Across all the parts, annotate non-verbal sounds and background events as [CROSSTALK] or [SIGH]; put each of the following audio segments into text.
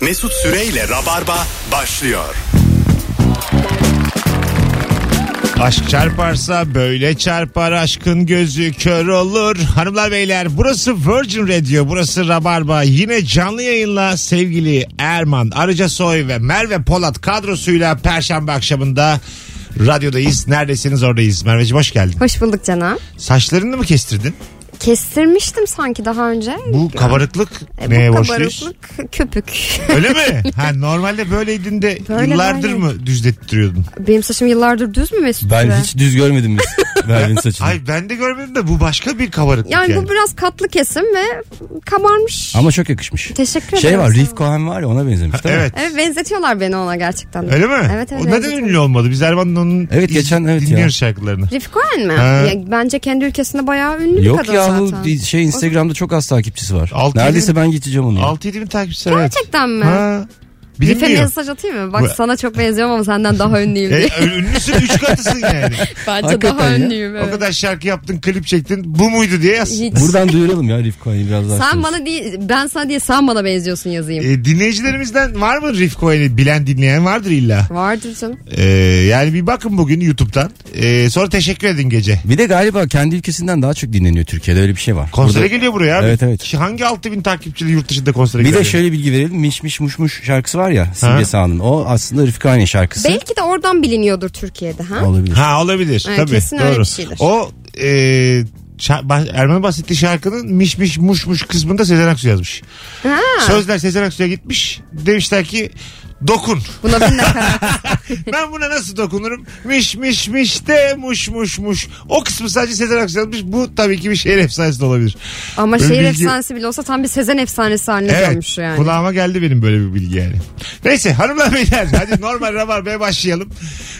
Mesut Süreyle Rabarba başlıyor. Aşk çarparsa böyle çarpar aşkın gözü kör olur. Hanımlar beyler burası Virgin Radio burası Rabarba. Yine canlı yayınla sevgili Erman Arıca Soy ve Merve Polat kadrosuyla Perşembe akşamında radyodayız. Neredesiniz oradayız. Merveciğim hoş geldin. Hoş bulduk canım. Saçlarını mı kestirdin? Kestirmiştim sanki daha önce. Bu kabarıklık E, neye bu borçluyuz? kabarıklık köpük. [LAUGHS] Öyle mi? Ha, normalde böyleydin de Böyle, yıllardır böyle. mı düzlettiriyordun? Benim saçım yıllardır düz mü Mesut? Ben Süre? hiç düz görmedim [LAUGHS] biz Merve'nin saçını. Ay ben de görmedim de bu başka bir kabarıklık yani. Yani, bu biraz katlı kesim ve kabarmış. Ama çok yakışmış. Teşekkür Şey ederim. var Sağ Reef ol. Cohen var ya ona benzemiş değil mi? Evet. Evet benzetiyorlar beni ona gerçekten. Öyle mi? Evet evet. O neden benzetiyorlar. ünlü olmadı? Biz Erman'ın onun Evet, iz- geçen- evet ya. dinliyoruz şarkılarını. Rifik Oğan mı? Ha. Ya, bence kendi ülkesinde bayağı ünlü bir Yok kadın yahu zaten. bir şey Instagram'da çok az takipçisi var. Altı Neredeyse yedi- ben geçeceğim onu. ya. 6-7 bin takipçisi var, evet. Gerçekten mi? Ha. Rife Bilinmiyor. mesaj atayım mı? Bak Bu- sana çok benziyorum ama senden daha ünlüyüm diye. [LAUGHS] [LAUGHS] E, ünlüsün 3 katısın yani. Bence hakikaten daha ya. ünlüyüm. O [LAUGHS] Evet. kadar şarkı yaptın, klip çektin. Bu muydu diye yaz. Hiç. Buradan duyuralım ya Reef Cohen'i biraz daha. Sen açarız. bana değil, ben sana diye sen bana benziyorsun yazayım. E, dinleyicilerimizden var mı Rif Cohen'i bilen dinleyen vardır illa. Vardır canım. E, yani bir bakın bugün YouTube'dan. E, sonra teşekkür edin gece. Bir de galiba kendi ülkesinden daha çok dinleniyor Türkiye'de öyle bir şey var. Konsere Burada- geliyor buraya abi. Evet, evet. Şu Hangi 6000 takipçili yurt dışında konsere Bir geliyor? de şöyle bilgi verelim. Miş miş muş muş şarkısı var ya Simge Sağ'ın. O aslında Refik Cohen'in şarkısı. Belki de oradan biliniyordur Türkiye'de ha. Olabilir. Ha olabilir. Evet, Tabii. kesin doğru. öyle bir şeydir. O e, şa- bah- Erman bahsettiği şarkının miş miş muş muş kısmında Sezen Aksu yazmış. Ha. Sözler Sezen Aksu'ya gitmiş. Demişler ki dokun. [LAUGHS] Buna bin de karar. Ben buna nasıl dokunurum? Miş miş miş de muş muş muş. O kısmı sadece Sezen Aksu yazmış. Bu tabii ki bir şehir efsanesi de olabilir. Ama Böyle şehir bilgi- efsanesi bile olsa tam bir Sezen efsanesi haline dönmüş yani. Kulağıma geldi benim böyle bir bilgi yani. Neyse hanımlar beyler hadi normal Rabarba'ya başlayalım.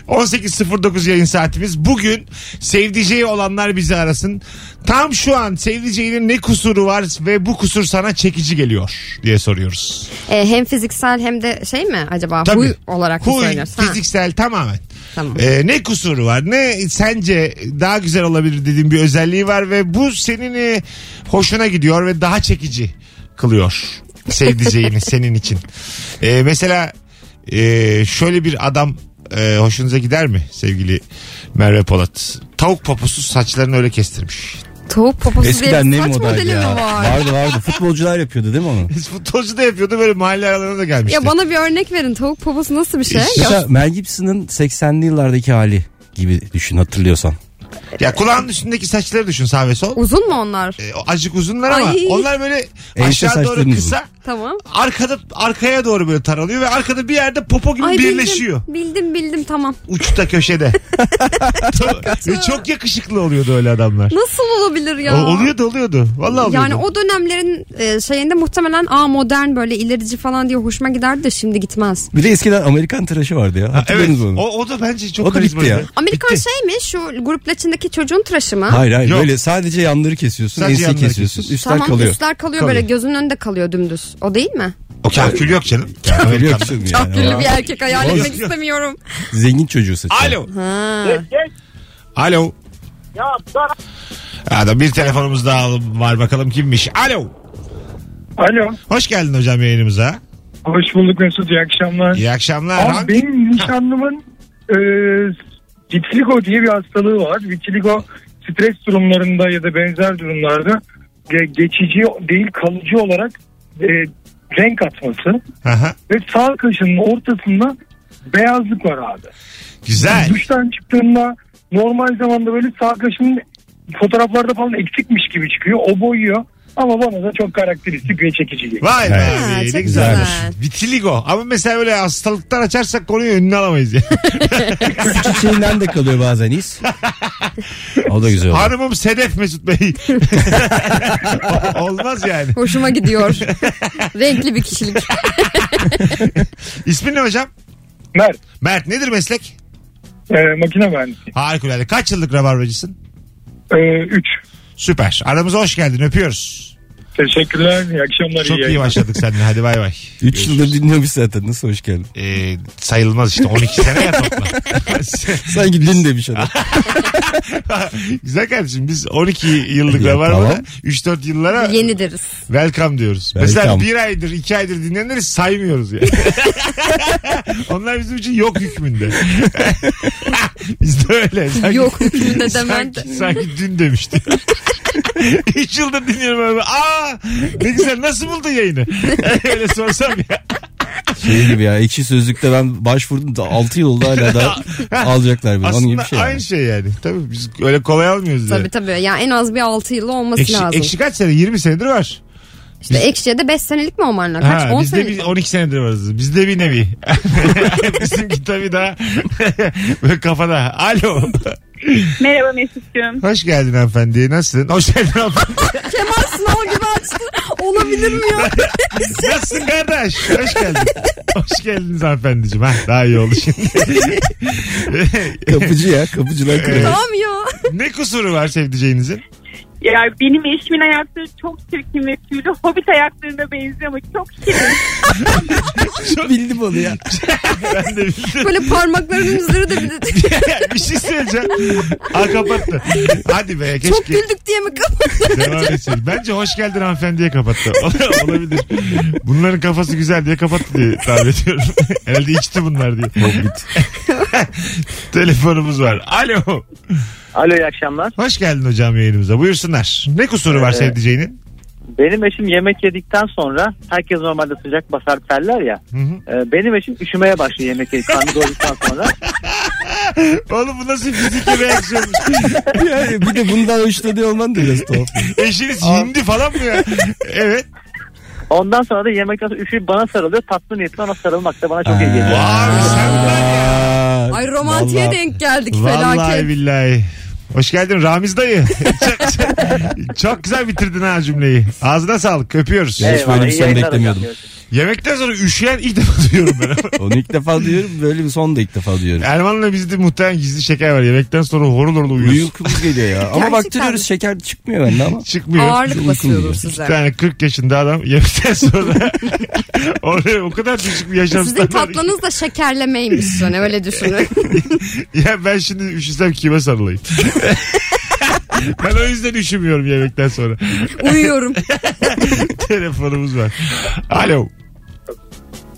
18.09 yayın saatimiz. Bugün sevdiceği olanlar bizi arasın. Tam şu an sevdiceğinin ne kusuru var ve bu kusur sana çekici geliyor diye soruyoruz. E, hem fiziksel hem de şey mi acaba Tabii. huy olarak mı Huy, söylüyorsun? Ha, fiziksel tamamen. Tamam. Ee, ne kusuru var ne sence daha güzel olabilir dediğin bir özelliği var ve bu senin e, hoşuna gidiyor ve daha çekici kılıyor sevdiceğini [LAUGHS] senin için. Ee, mesela e, şöyle bir adam e, hoşunuza gider mi sevgili Merve Polat? Tavuk poposu saçlarını öyle kestirmiş. [LAUGHS] Tavuk poposu Eskiden diye ne saç modaydı modeli mi ya. var? Vardı vardı. Futbolcular yapıyordu değil mi onu? Futbolcu da yapıyordu böyle mahalle aralarına da gelmişti. Ya bana bir örnek verin. Tavuk poposu nasıl bir şey? Ya, Mesela Mel Gibson'ın 80'li yıllardaki hali gibi düşün hatırlıyorsan. Ya kulağın üstündeki saçları düşün sağ ve sol. uzun mu onlar? E, acık uzunlar ama Ay. onlar böyle Ense aşağı doğru saçlarınız kısa. Tamam. arkada arkaya doğru böyle taralıyor ve arkada bir yerde popo gibi Ay, birleşiyor. Bildim, bildim bildim tamam. Uçta [LAUGHS] köşede. çok, ve çok yakışıklı oluyordu öyle adamlar. Nasıl olabilir ya? O- oluyordu oluyordu. Vallahi oluyordu. Yani o dönemlerin e, şeyinde muhtemelen a modern böyle ilerici falan diye hoşuma giderdi de şimdi gitmez. Bir de eskiden Amerikan tıraşı vardı ya. evet. Hatırladınız onu. O, o da bence çok O da bitti karizmatik. ya. Amerikan Bitti. şey mi şu grup laçındaki çocuğun tıraşı mı? Hayır hayır Yok. böyle sadece yanları kesiyorsun, Sadece enseyi yanları kesiyorsun, kesiyorsun. üstler Tamam kalıyor. üstler kalıyor böyle gözünün önünde kalıyor dümdüz. O değil mi? O kafir yok canım. Öyle yoksun yani. Kaptırlı Aa. bir erkek hayal Oğlum. etmek istemiyorum. Zengin çocuğu saçı. Alo. Ha. Alo. Ya ben... Adam bir telefonumuz daha var bakalım kimmiş. Alo. Alo. Hoş geldin hocam yayınımıza. Hoş bulduk Mesut. İyi akşamlar. İyi akşamlar. Abi Hangi- benim nişanlımın e, vitiligo diye bir hastalığı var. Vitiligo stres durumlarında ya da benzer durumlarda ge- geçici değil kalıcı olarak e, renk atması Aha, ve sağ kaşının ortasında beyazlık var abi. Güzel. Duştan çıktığında normal zamanda böyle sağ kaşının fotoğraflarda falan eksikmiş gibi çıkıyor. O boyuyor. Ama bana da çok karakteristik ve çekici geliyor. Vay be Evet. abi, Ha, ne çok güzelmiş. güzel. Vitiligo. Ama mesela böyle hastalıktan açarsak konuyu önüne alamayız. yani. Küçük şeyinden de kalıyor [LAUGHS] bazen iz. o da güzel oldu. Hanımım Sedef Mesut Bey. Olmaz yani. Hoşuma gidiyor. Renkli bir kişilik. İsmin ne hocam? Mert, Mert nedir meslek? e, makine mühendisi. Harikulade. Kaç yıllık rabarbacısın? 3. Süper. Aramıza hoş geldin. Öpüyoruz. Teşekkürler. İyi akşamlar. Çok iyi yayınlar. başladık seninle. Hadi bay bay. 3 yıldır dinliyormuş zaten. Nasıl hoş geldin? Ee, sayılmaz işte 12 sene ya toplam. [LAUGHS] Sanki din demiş adam. Güzel kardeşim biz 12 yıllık Ya, var tamam. 3-4 yıllara Yeni deriz. welcome diyoruz. Welcome. Mesela bir aydır iki aydır dinleyenleri saymıyoruz [LAUGHS] yani. Onlar bizim için yok hükmünde. [LAUGHS] biz de öyle. Sanki- Yok hükmünde demen de. Sanki, sanki dün demişti. [LAUGHS] 3 yıldır dinliyorum abi. Aa ne güzel nasıl buldun yayını? [LAUGHS] öyle sorsam ya. Şey gibi ya. Ekşi sözlükte ben başvurdum da 6 yıl oldu [LAUGHS] hala da alacaklar beni. Onun gibi Aslında bir şey. yani. aynı şey yani. Tabii biz öyle kolay almıyoruz yani. Tabii tabii. Yani en az bir 6 yılı olması Ekşi, lazım. ekşi kaç sene? 20 senedir var. işte ekşiye de 5 senelik mi olman lazım? Kaç? Ha, 10 bizde senelik. bir 12 senedir varız. Bizde bir [LAUGHS] nevi. Bizimki tabii daha böyle kafada. Alo. Merhaba Mesut'cum. Hoş geldin hanımefendi. Nasılsın? Hoş geldin hanımefendi. Kemal sınav gibi açtı. Olabilir mi ya? [LAUGHS] Nasılsın kardeş? Hoş geldin. Hoş geldiniz hanımefendiciğim. Ha, daha iyi oldu [LAUGHS] şimdi. şey. Kapıcı ya. Kapıcılar kırıyor. tamam ya. ne kusuru var sevdiceğinizin? Ya benim eşimin ayakları çok çirkin ve tüylü. Hobbit ayaklarına benziyor ama çok şirin. Bildim onu ya. Ben de bildim. Böyle parmaklarının üzeri de bir de- [LAUGHS] bir şey söyleyeceğim. Ha kapattı. Hadi be keşke. Çok güldük diye mi kapattın? Devam etsin. Bence hoş geldin hanımefendiye kapattı. [LAUGHS] Ola- Olabilir. Bunların kafası güzel diye kapattı diye tahmin ediyorum. [LAUGHS] Herhalde içti bunlar diye. [LAUGHS] Telefonumuz var. Alo. Alo iyi akşamlar. Hoş geldin hocam yayınımıza. Buyursunlar. Ne kusuru var Ee, sevdiceğinin? Benim eşim yemek yedikten sonra herkes normalde sıcak basar terler ya. Hı hı. Ee, Benim eşim üşümeye başlıyor yemek yedik karnı doyduktan sonra. Oğlum bu nasıl fiziki reaksiyonmuş? Yani bir de bundan hoşlanıyor olman da biraz tuhaf. Eşiniz Aa. hindi falan mı ya? Evet. Ondan sonra da yemekten sonra üşüyüp bana sarılıyor. Tatlı niyetli ona sarılmak da bana çok iyi geliyor. Abi sen var ya. Ay romantiğe Vallahi- denk geldik Vallahi felaket. billahi. Hoş geldin Ramiz dayı. çok, çok- çok güzel bitirdin ha cümleyi. Ağzına sağlık. Öpüyoruz. Evet. hiç böyle bir iyi sen yayınlar hocam. beklemiyordum. Yemekten sonra üşüyen ilk defa duyuyorum ben. Onu ilk defa duyuyorum. Böyle bir son da ilk defa duyuyorum. Erman'la bizde muhtemelen gizli şeker var. Yemekten sonra horul horul uyuyoruz. Uykumuz geliyor ya. Ama Gerçekten. baktırıyoruz şeker çıkmıyor bende ama. Çıkmıyor. Ağırlık Uykum basıyordur geliyor. Bir size. tane 40 yaşında adam yemekten sonra [LAUGHS] oraya o kadar düşük bir yaşam Sizin standartı- tatlınız da şekerlemeymiş. Hani [LAUGHS] öyle düşünün. Ya ben şimdi üşüsem kime sarılayım? ben o yüzden üşümüyorum yemekten sonra. [LAUGHS] Uyuyorum. Telefonumuz var. Alo.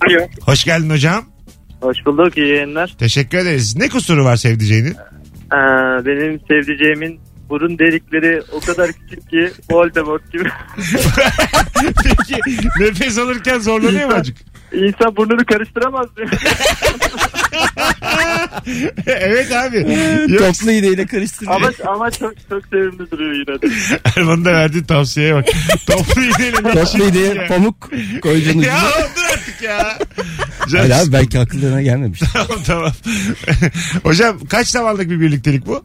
Alo. Hoş geldin hocam. Hoş bulduk iyi yayınlar. Teşekkür ederiz. Ne kusuru var sevdiceğinin? Ee, benim sevdiceğimin burun delikleri o kadar küçük ki Voldemort gibi. [LAUGHS] Peki nefes alırken zorlanıyor mu acık? İnsan burnunu karıştıramaz [LAUGHS] mı? [LAUGHS] evet abi. Yok Toplu iğneyle karıştırıyor. ama, ama çok çok sevimli duruyor yine de. Erman'ın da verdiği tavsiyeye bak. [LAUGHS] Toplu iğneyle ne Toplu [LAUGHS] Ya. iğneye pamuk koyacaksın Ya ucuna. dur artık [LAUGHS] ya. Hocam, Hayır abi belki akıllarına gelmemiş. [LAUGHS] tamam tamam. [LAUGHS] Hocam kaç zamanlık bir birliktelik bu?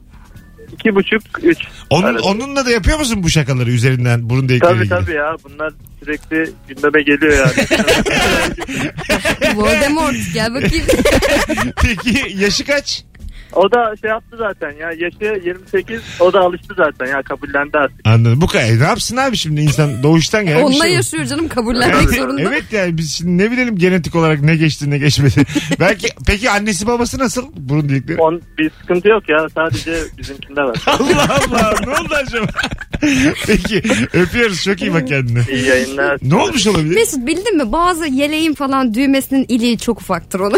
İki buçuk üç. Onun, Arada. onunla da yapıyor musun bu şakaları üzerinden burun Tabii delikleriyle? tabii ya bunlar sürekli gündeme geliyor yani. [LAUGHS] Voldemort gel şey bakayım. [LAUGHS] Peki yaşı kaç? o da şey yaptı zaten ya yaşı 28 o da alıştı zaten ya kabullendi artık. Anladım. Bu kadar. E, Ne yapsın abi şimdi insan doğuştan gelen bir Onunla şey bu. yaşıyor canım kabullenmek zorunda. Evet yani biz şimdi ne bilelim genetik olarak ne geçti ne [LAUGHS] geçmedi. Belki peki annesi babası nasıl burun delikleri? On, bir sıkıntı yok ya sadece bizimkinde var. [LAUGHS] Allah Allah ne oldu acaba? [LAUGHS] peki öpüyoruz çok iyi bak kendine. İyi yayınlar. Ne olmuş olabilir? Mesut bildin mi bazı yeleğin falan düğmesinin iliği çok [LAUGHS] ufaktır onu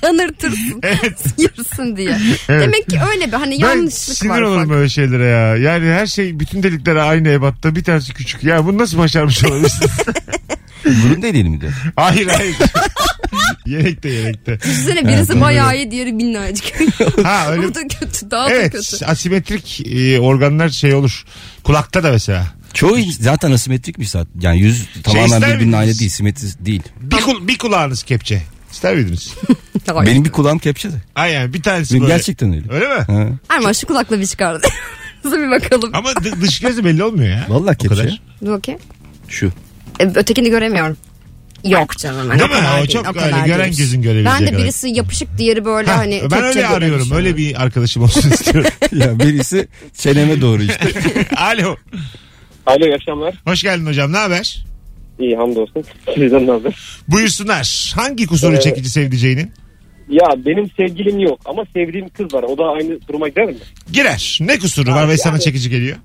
kanırtırsın sıyırsın diye. Demek ki öyle bir hani Ben yanlışlık sinir var. olurum ufak. böyle şeylere ya. Yani her şey bütün delikler aynı ebatta bir tanesi küçük. Ya bunu nasıl başarmış [LAUGHS] olabilirsin? Burun deliğini mi diyor? hayır hayır. [LAUGHS] yelekte yelekte. Düşünsene Evet, birisi doğru. bayağı iyi diğeri minnacık. [LAUGHS] Ha öyle. Bu da kötü daha da kötü. Evet asimetrik e, organlar şey olur. Kulakta da mesela. Çoğu in- zaten asimetrikmiş zaten. Yani yüz tamamen Şey ister birbirinin miydiniz? aynı değil. Simetri değil. Bir, kul- bir kulağınız kepçe. İster miydiniz? Hayır. Benim bir kulağım kepçede. Aynen bir tanesi Benim böyle. gerçekten öyle. Öyle mi? Ha. Erman şu kulakla bir çıkardı. [LAUGHS] bir bakalım. Ama dı- dış gözü belli olmuyor ya. Vallahi O kadar. kepçe. Dur bakayım. Şu. E, ötekini göremiyorum. Yok canım. hani Değil mi? kadar O değil, çok kadar öyle gören değil. gözün görebileceği Ben de kadar. birisi yapışık diğeri böyle Ha, hani. ben Türkçe öyle arıyorum. görmüş. Öyle [LAUGHS] [LAUGHS] bir arkadaşım olsun istiyorum. [LAUGHS] ya birisi çeneme doğru işte. Alo. Alo iyi akşamlar. Hoş geldin hocam. Ne haber? İyi hamdolsun. [LAUGHS] Sizden ne haber? Buyursunlar. Hangi kusuru Ee, çekici sevdiceğinin? Ya benim sevgilim yok ama sevdiğim kız var. O da aynı duruma gider mi? Girer. Ne kusuru var Abi, ve sana yani- çekici geliyor?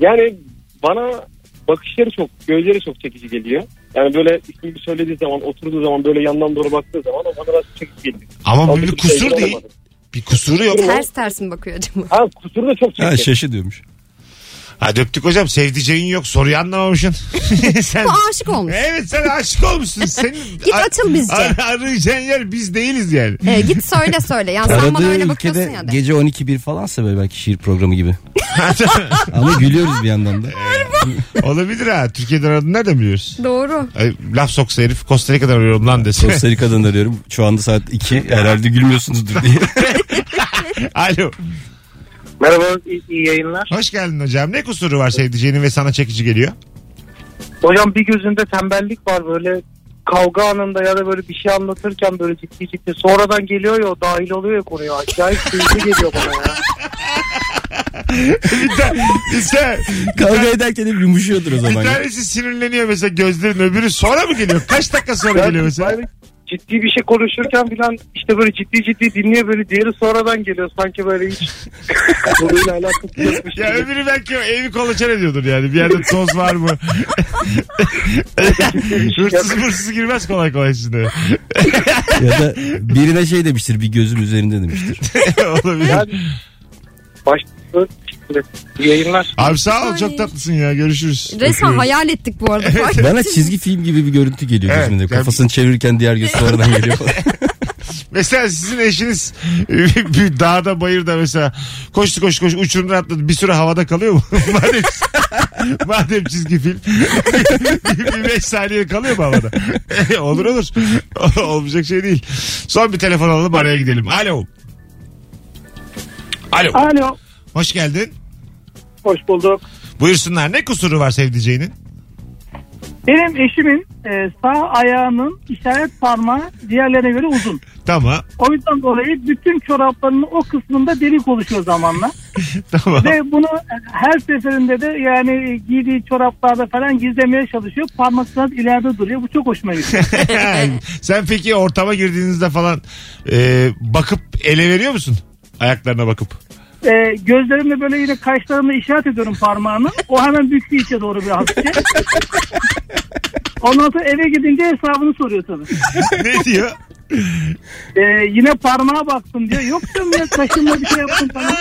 Yani bana bakışları çok, gözleri çok çekici geliyor. Yani böyle ismini söylediği zaman, oturduğu zaman böyle yandan doğru baktığı zaman o bana biraz çekici geliyor. Ama Ama bu bir bir kusur şey değil. olmadı. Bir kusuru yok. Ters ters mi bakıyor acaba? Ha kusuru da çok Ha şey. çekici. şaşı diyormuş. Hadi öptük hocam. Sevdiceğin yok. Soruyu anlamamışsın. [LAUGHS] sen... Bu aşık olmuş. Evet sen aşık olmuşsun. Senin [LAUGHS] Git açıl bizce. Ar- arayacağın yer biz değiliz yani. Ee, git söyle söyle. Yani sen bana Aradığı öyle bakıyorsun ülkede ya de. gece 12-1 falansa böyle belki şiir programı gibi. [LAUGHS] Ama gülüyoruz bir yandan da. Olabilir ha. Türkiye'den aradın nereden biliyoruz? Doğru. Ay, laf soksa herif Costa Rica'dan arıyorum lan dese. Costa Rica'dan arıyorum. Şu anda saat 2. Herhalde gülmüyorsunuzdur diye. [LAUGHS] Alo. Merhaba iyi, yayınlar. Hoş geldin hocam. Ne kusuru var sevdiceğinin ve sana çekici geliyor? Hocam bir gözünde tembellik var böyle kavga anında ya da böyle bir şey anlatırken böyle ciddi ciddi sonradan geliyor ya o dahil oluyor ya konuya acayip sinirli geliyor bana ya. bir, ta- bir ta- [LAUGHS] Kavga ederken hep yumuşuyordur o bir zaman. ya. tanesi sinirleniyor mesela gözlerin öbürü sonra mı geliyor? Kaç dakika sonra Ya geliyor mesela? böyle ciddi bir şey konuşurken filan işte böyle ciddi ciddi dinliyor böyle diğeri sonradan geliyor sanki böyle [LAUGHS] hiç konuyla alakası şey. yokmuş Ya gibi. öbürü belki evi kolaçan ediyordur yani. Bir yerde toz var mı? hırsız hırsız girmez kolay kolay şimdi. Ya da birine şey demiştir bir gözüm üzerinde demiştir. [LAUGHS] Olabilir. Yani baş İyi yayınlar. Abi sağ ol Ay. çok tatlısın ya görüşürüz. Resmen hayal ettik bu arada. Fark Bana ettin mi? çizgi film gibi bir görüntü geliyor Evet, gözümde. yani- Kafasını çevirirken diğer göz sonradan [LAUGHS] geliyor falan. Mesela sizin eşiniz [LAUGHS] bir dağda bayırda mesela koştu koştu koştu uçurumdan atladı bir süre havada kalıyor mu? [LAUGHS] madem, madem çizgi film [LAUGHS] bir beş saniye kalıyor mu havada? [LAUGHS] olur olur. [LAUGHS] Olmayacak şey değil. Son bir telefon alalım araya gidelim. Alo. Alo. Alo. Hoş geldin. Hoş bulduk. Buyursunlar ne kusuru var sevdiceğinin? Benim eşimin e, sağ ayağının işaret parmağı diğerlerine göre uzun. Tamam. O yüzden dolayı bütün çoraplarının o kısmında delik oluşuyor zamanla. Tamam. [LAUGHS] Ve bunu her seferinde de yani giydiği çoraplarda falan gizlemeye çalışıyor. Parmak biraz ileride duruyor. Bu çok hoşuma gidiyor. Sen peki ortama girdiğinizde falan e, bakıp ele veriyor musun? Ayaklarına bakıp. E, gözlerimle böyle yine kaşlarımla işaret ediyorum parmağını. O hemen büktü içe doğru bir hafifçe. Ondan sonra eve gidince hesabını soruyor tabii. ne diyor? E, yine parmağa baktım diyor. Yok canım ya kaşımla bir şey yaptım falan.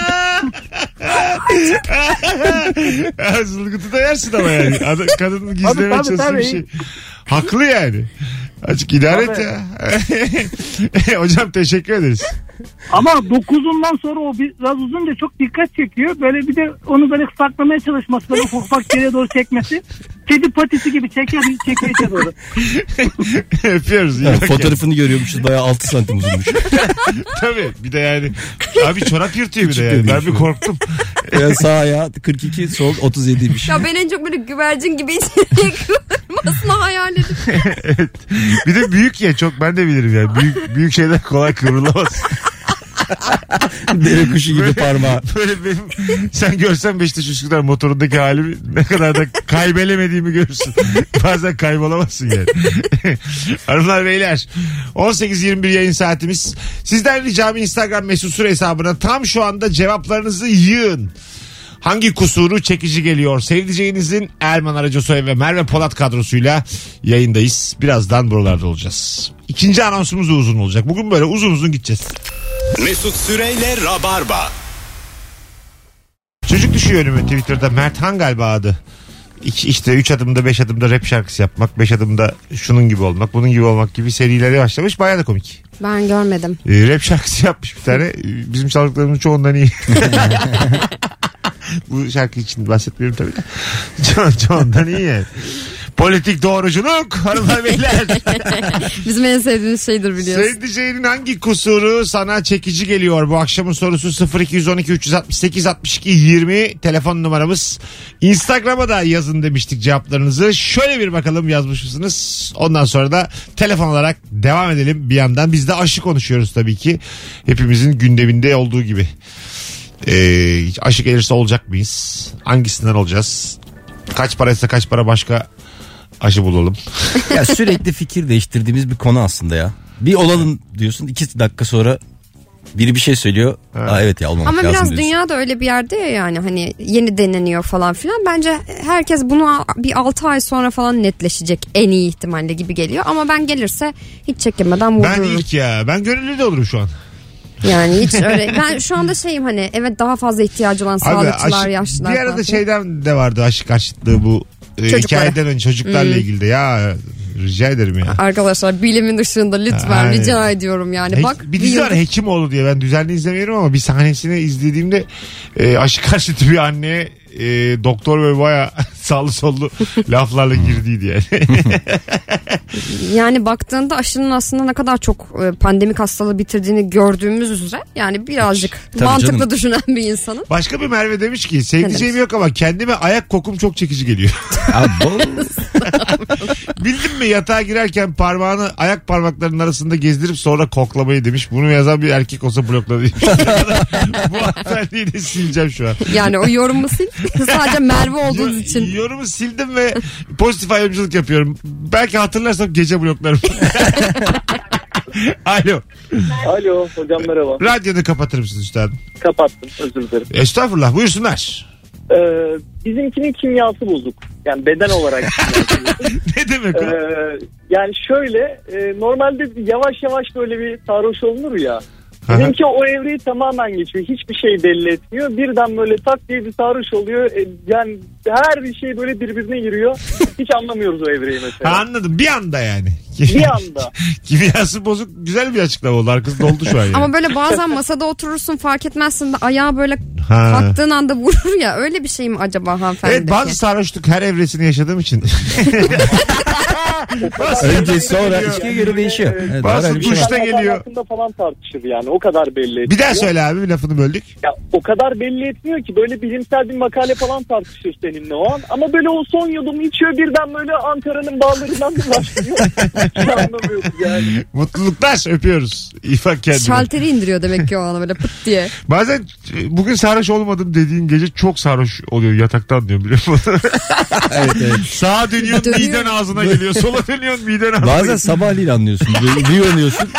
Zılgıtı da yersin ama yani. Adam, kadının Tabii, gizlemeye tabii, çalıştığı bir tabii. şey. Haklı yani. Açık idare et [LAUGHS] ya. Hocam teşekkür ederiz. [LAUGHS] Ama dokuzundan sonra o biraz uzunca çok dikkat çekiyor. Böyle bir de onu böyle saklamaya çalışması böyle ufak ufak geriye doğru çekmesi. Kedi patisi gibi çeker çeker içe doğru. Öpüyoruz. iyi Yani bak fotoğrafını görüyormuşuz bayağı 6 santim uzunmuş. ya. Tabii. Bir de yani. Abi çorap yırtıyor bir de Küçük yani. Ben demiş bir bu. korktum. Yani sağ ayağı 42 sol 37 bir şey. Ya ben en çok böyle güvercin gibi [LAUGHS] içeriye kıvırmasını hayal ediyorum. Bir de büyük ya çok ben de bilirim yani. Büyük, büyük şeyler kolay kıvrılamaz. Dere kuşu gibi parmağı. [LAUGHS] Böyle benim sen görsen Beşiktaş Üsküdar motorundaki halimi ne kadar da kaybelemediğimi görürsün. [LAUGHS] Bazen kaybolamazsın yani. [LAUGHS] Hanımlar beyler 18.21 yayın saatimiz. Sizden ricam Instagram mesut süre hesabına tam şu anda cevaplarınızı yığın. Hangi kusuru çekici geliyor? Sevdiceğinizin Erman Aracasoy ve Merve Polat kadrosuyla yayındayız. Birazdan buralarda olacağız. İkinci anonsumuz da uzun olacak. Bugün böyle uzun uzun gideceğiz. Mesut Süreyle Rabarba. Çocuk düşüyor önüme Twitter'da. Mert Han galiba adı. İki, işte 3 adımda 5 adımda rap şarkısı yapmak. 5 adımda şunun gibi olmak bunun gibi olmak gibi serileri başlamış. Bayağı da komik. Ben görmedim. Ee, rap şarkısı [LAUGHS] yapmış bir tane. Ee, Bizim çaldıklarımız çoğundan iyi. [LAUGHS] Bu şarkı için bahsetmiyorum tabii de. [LAUGHS] Ço- çoğundan iyi yani. Politik doğruculuk hanımlar beyler. Bizim en sevdiğimiz şeydir biliyorsun. Sevdiceğinin hangi kusuru sana çekici geliyor? Bu akşamın sorusu 0212 368 62 20 telefon numaramız. Instagram'a da yazın demiştik cevaplarınızı. Şöyle bir bakalım yazmış mısınız? Ondan sonra da telefon olarak devam edelim bir yandan. Biz de aşı konuşuyoruz tabii ki. Hepimizin gündeminde olduğu gibi. Ee, aşı gelirse olacak mıyız? Hangisinden olacağız? Kaç paraysa kaç para başka aşı bulalım. Ya sürekli fikir değiştirdiğimiz bir konu aslında ya. Bir olalım diyorsun iki dakika sonra biri bir şey söylüyor. Aa, evet ya olmamak Ama lazım biraz diyorsun. dünya da öyle bir yerde ya yani hani yeni deneniyor falan filan. Bence herkes bunu a- bir 6 ay sonra falan netleşecek en iyi ihtimalle gibi geliyor. Ama ben gelirse hiç çekinmeden Ben vururum. ilk ya. Ben gönüllü de olurum şu an. Yani [LAUGHS] hiç öyle. Ben şu anda şeyim hani evet daha fazla ihtiyacı olan sağlıkçılar, aşı- yaşlılar. Bir falan arada şey- filan. şeyden de vardı aşı karşıtlığı bu e, Çocuklara. Hmm. hikayeden önce çocuklarla ilgili de ya rica ederim ya. Hani Arkadaşlar bilimin ışığında lütfen Aynen. rica ediyorum yani. He- Bak bir dizi var yıl- Hekimoğlu diye ben düzenli izlemiyorum ama bir sahnesini izlediğimde e, aşı [LAUGHS] karşıtı bir anne e, doktor böyle baya [LAUGHS] sağlı [LAUGHS] sollu laflarla girdiydi yani. Yani baktığında aşının aslında ne kadar çok e, pandemik hastalığı bitirdiğini gördüğümüz üzere yani birazcık Tabii mantıklı canım. düşünen bir insanın. [LAUGHS] Başka bir Merve demiş ki sevdiceğim demiş? yok ama kendime ayak kokum çok çekici geliyor. [LAUGHS] Bildin mi yatağa girerken parmağını ayak parmaklarının arasında gezdirip sonra koklamayı demiş. Bunu yazan bir erkek olsa blokladı. [LAUGHS] Bu hanımefendiyi de sileceğim şu an. Yani o yorumu sil [LAUGHS] sadece Merve olduğunuz Yo- için. Yorumu sildim ve pozitif ayrımcılık yapıyorum. Belki hatırlarsam gece bloklarım. [LAUGHS] Alo. Alo hocam merhaba. Radyonu kapatır mısın üstadım? Kapattım özür dilerim. Estağfurullah buyursunlar. [LAUGHS] Ee, bizimkinin kimyası bozuk. Yani beden [LAUGHS] olarak. Ne demek Ee, o? yani şöyle e, normalde bir yavaş yavaş böyle bir sarhoş olunur ya. Aha. Bizimki o evreyi tamamen geçiyor. Hiçbir şey belli etmiyor. Birden böyle tak diye bir sarhoş oluyor. E, yani her bir şey böyle birbirine giriyor. Hiç anlamıyoruz o evreyi Ha, mesela. anladım bir anda yani. bir anda. [LAUGHS] Kimyası bozuk güzel bir açıklama oldu. Arkası doldu şu an yani. Ama böyle bazen masada oturursun fark etmezsin de ayağı böyle Ha. kalktığın anda vurur ya öyle bir şey mi acaba hanımefendi? Evet bazı sarhoşluk her evresini yaşadığım için. [LAUGHS] Önce sonra geliyor. içkiye göre değişiyor. Evet, Bazı herhalde bir şey var. duş- İşte Adam geliyor. hakkında falan tartışır yani. O kadar belli etmiyor. bir daha söyle abi lafını böldük. Ya, o kadar belli etmiyor ki. Böyle bilimsel bir makale falan tartışır seninle o an. Ama böyle o son yudum içiyor birden böyle Ankara'nın bağlarından bir başlıyor. Hiç anlamıyoruz yani. Mutluluklar öpüyoruz. İyi bak kendine. Şalteri indiriyor demek ki o ana böyle pıt diye. Bazen e, bugün sarhoş olmadım dediğin gece çok sarhoş oluyor yataktan diyorum biliyor [LAUGHS] musun? Evet, [LAUGHS] evet. Sağa dönüyorsun Dönüyor. miden ağzına geliyor. Sola dönüyorsun miden ağzına Bazen geliyor. sabahleyin anlıyorsun. Böyle Bir uyanıyorsun.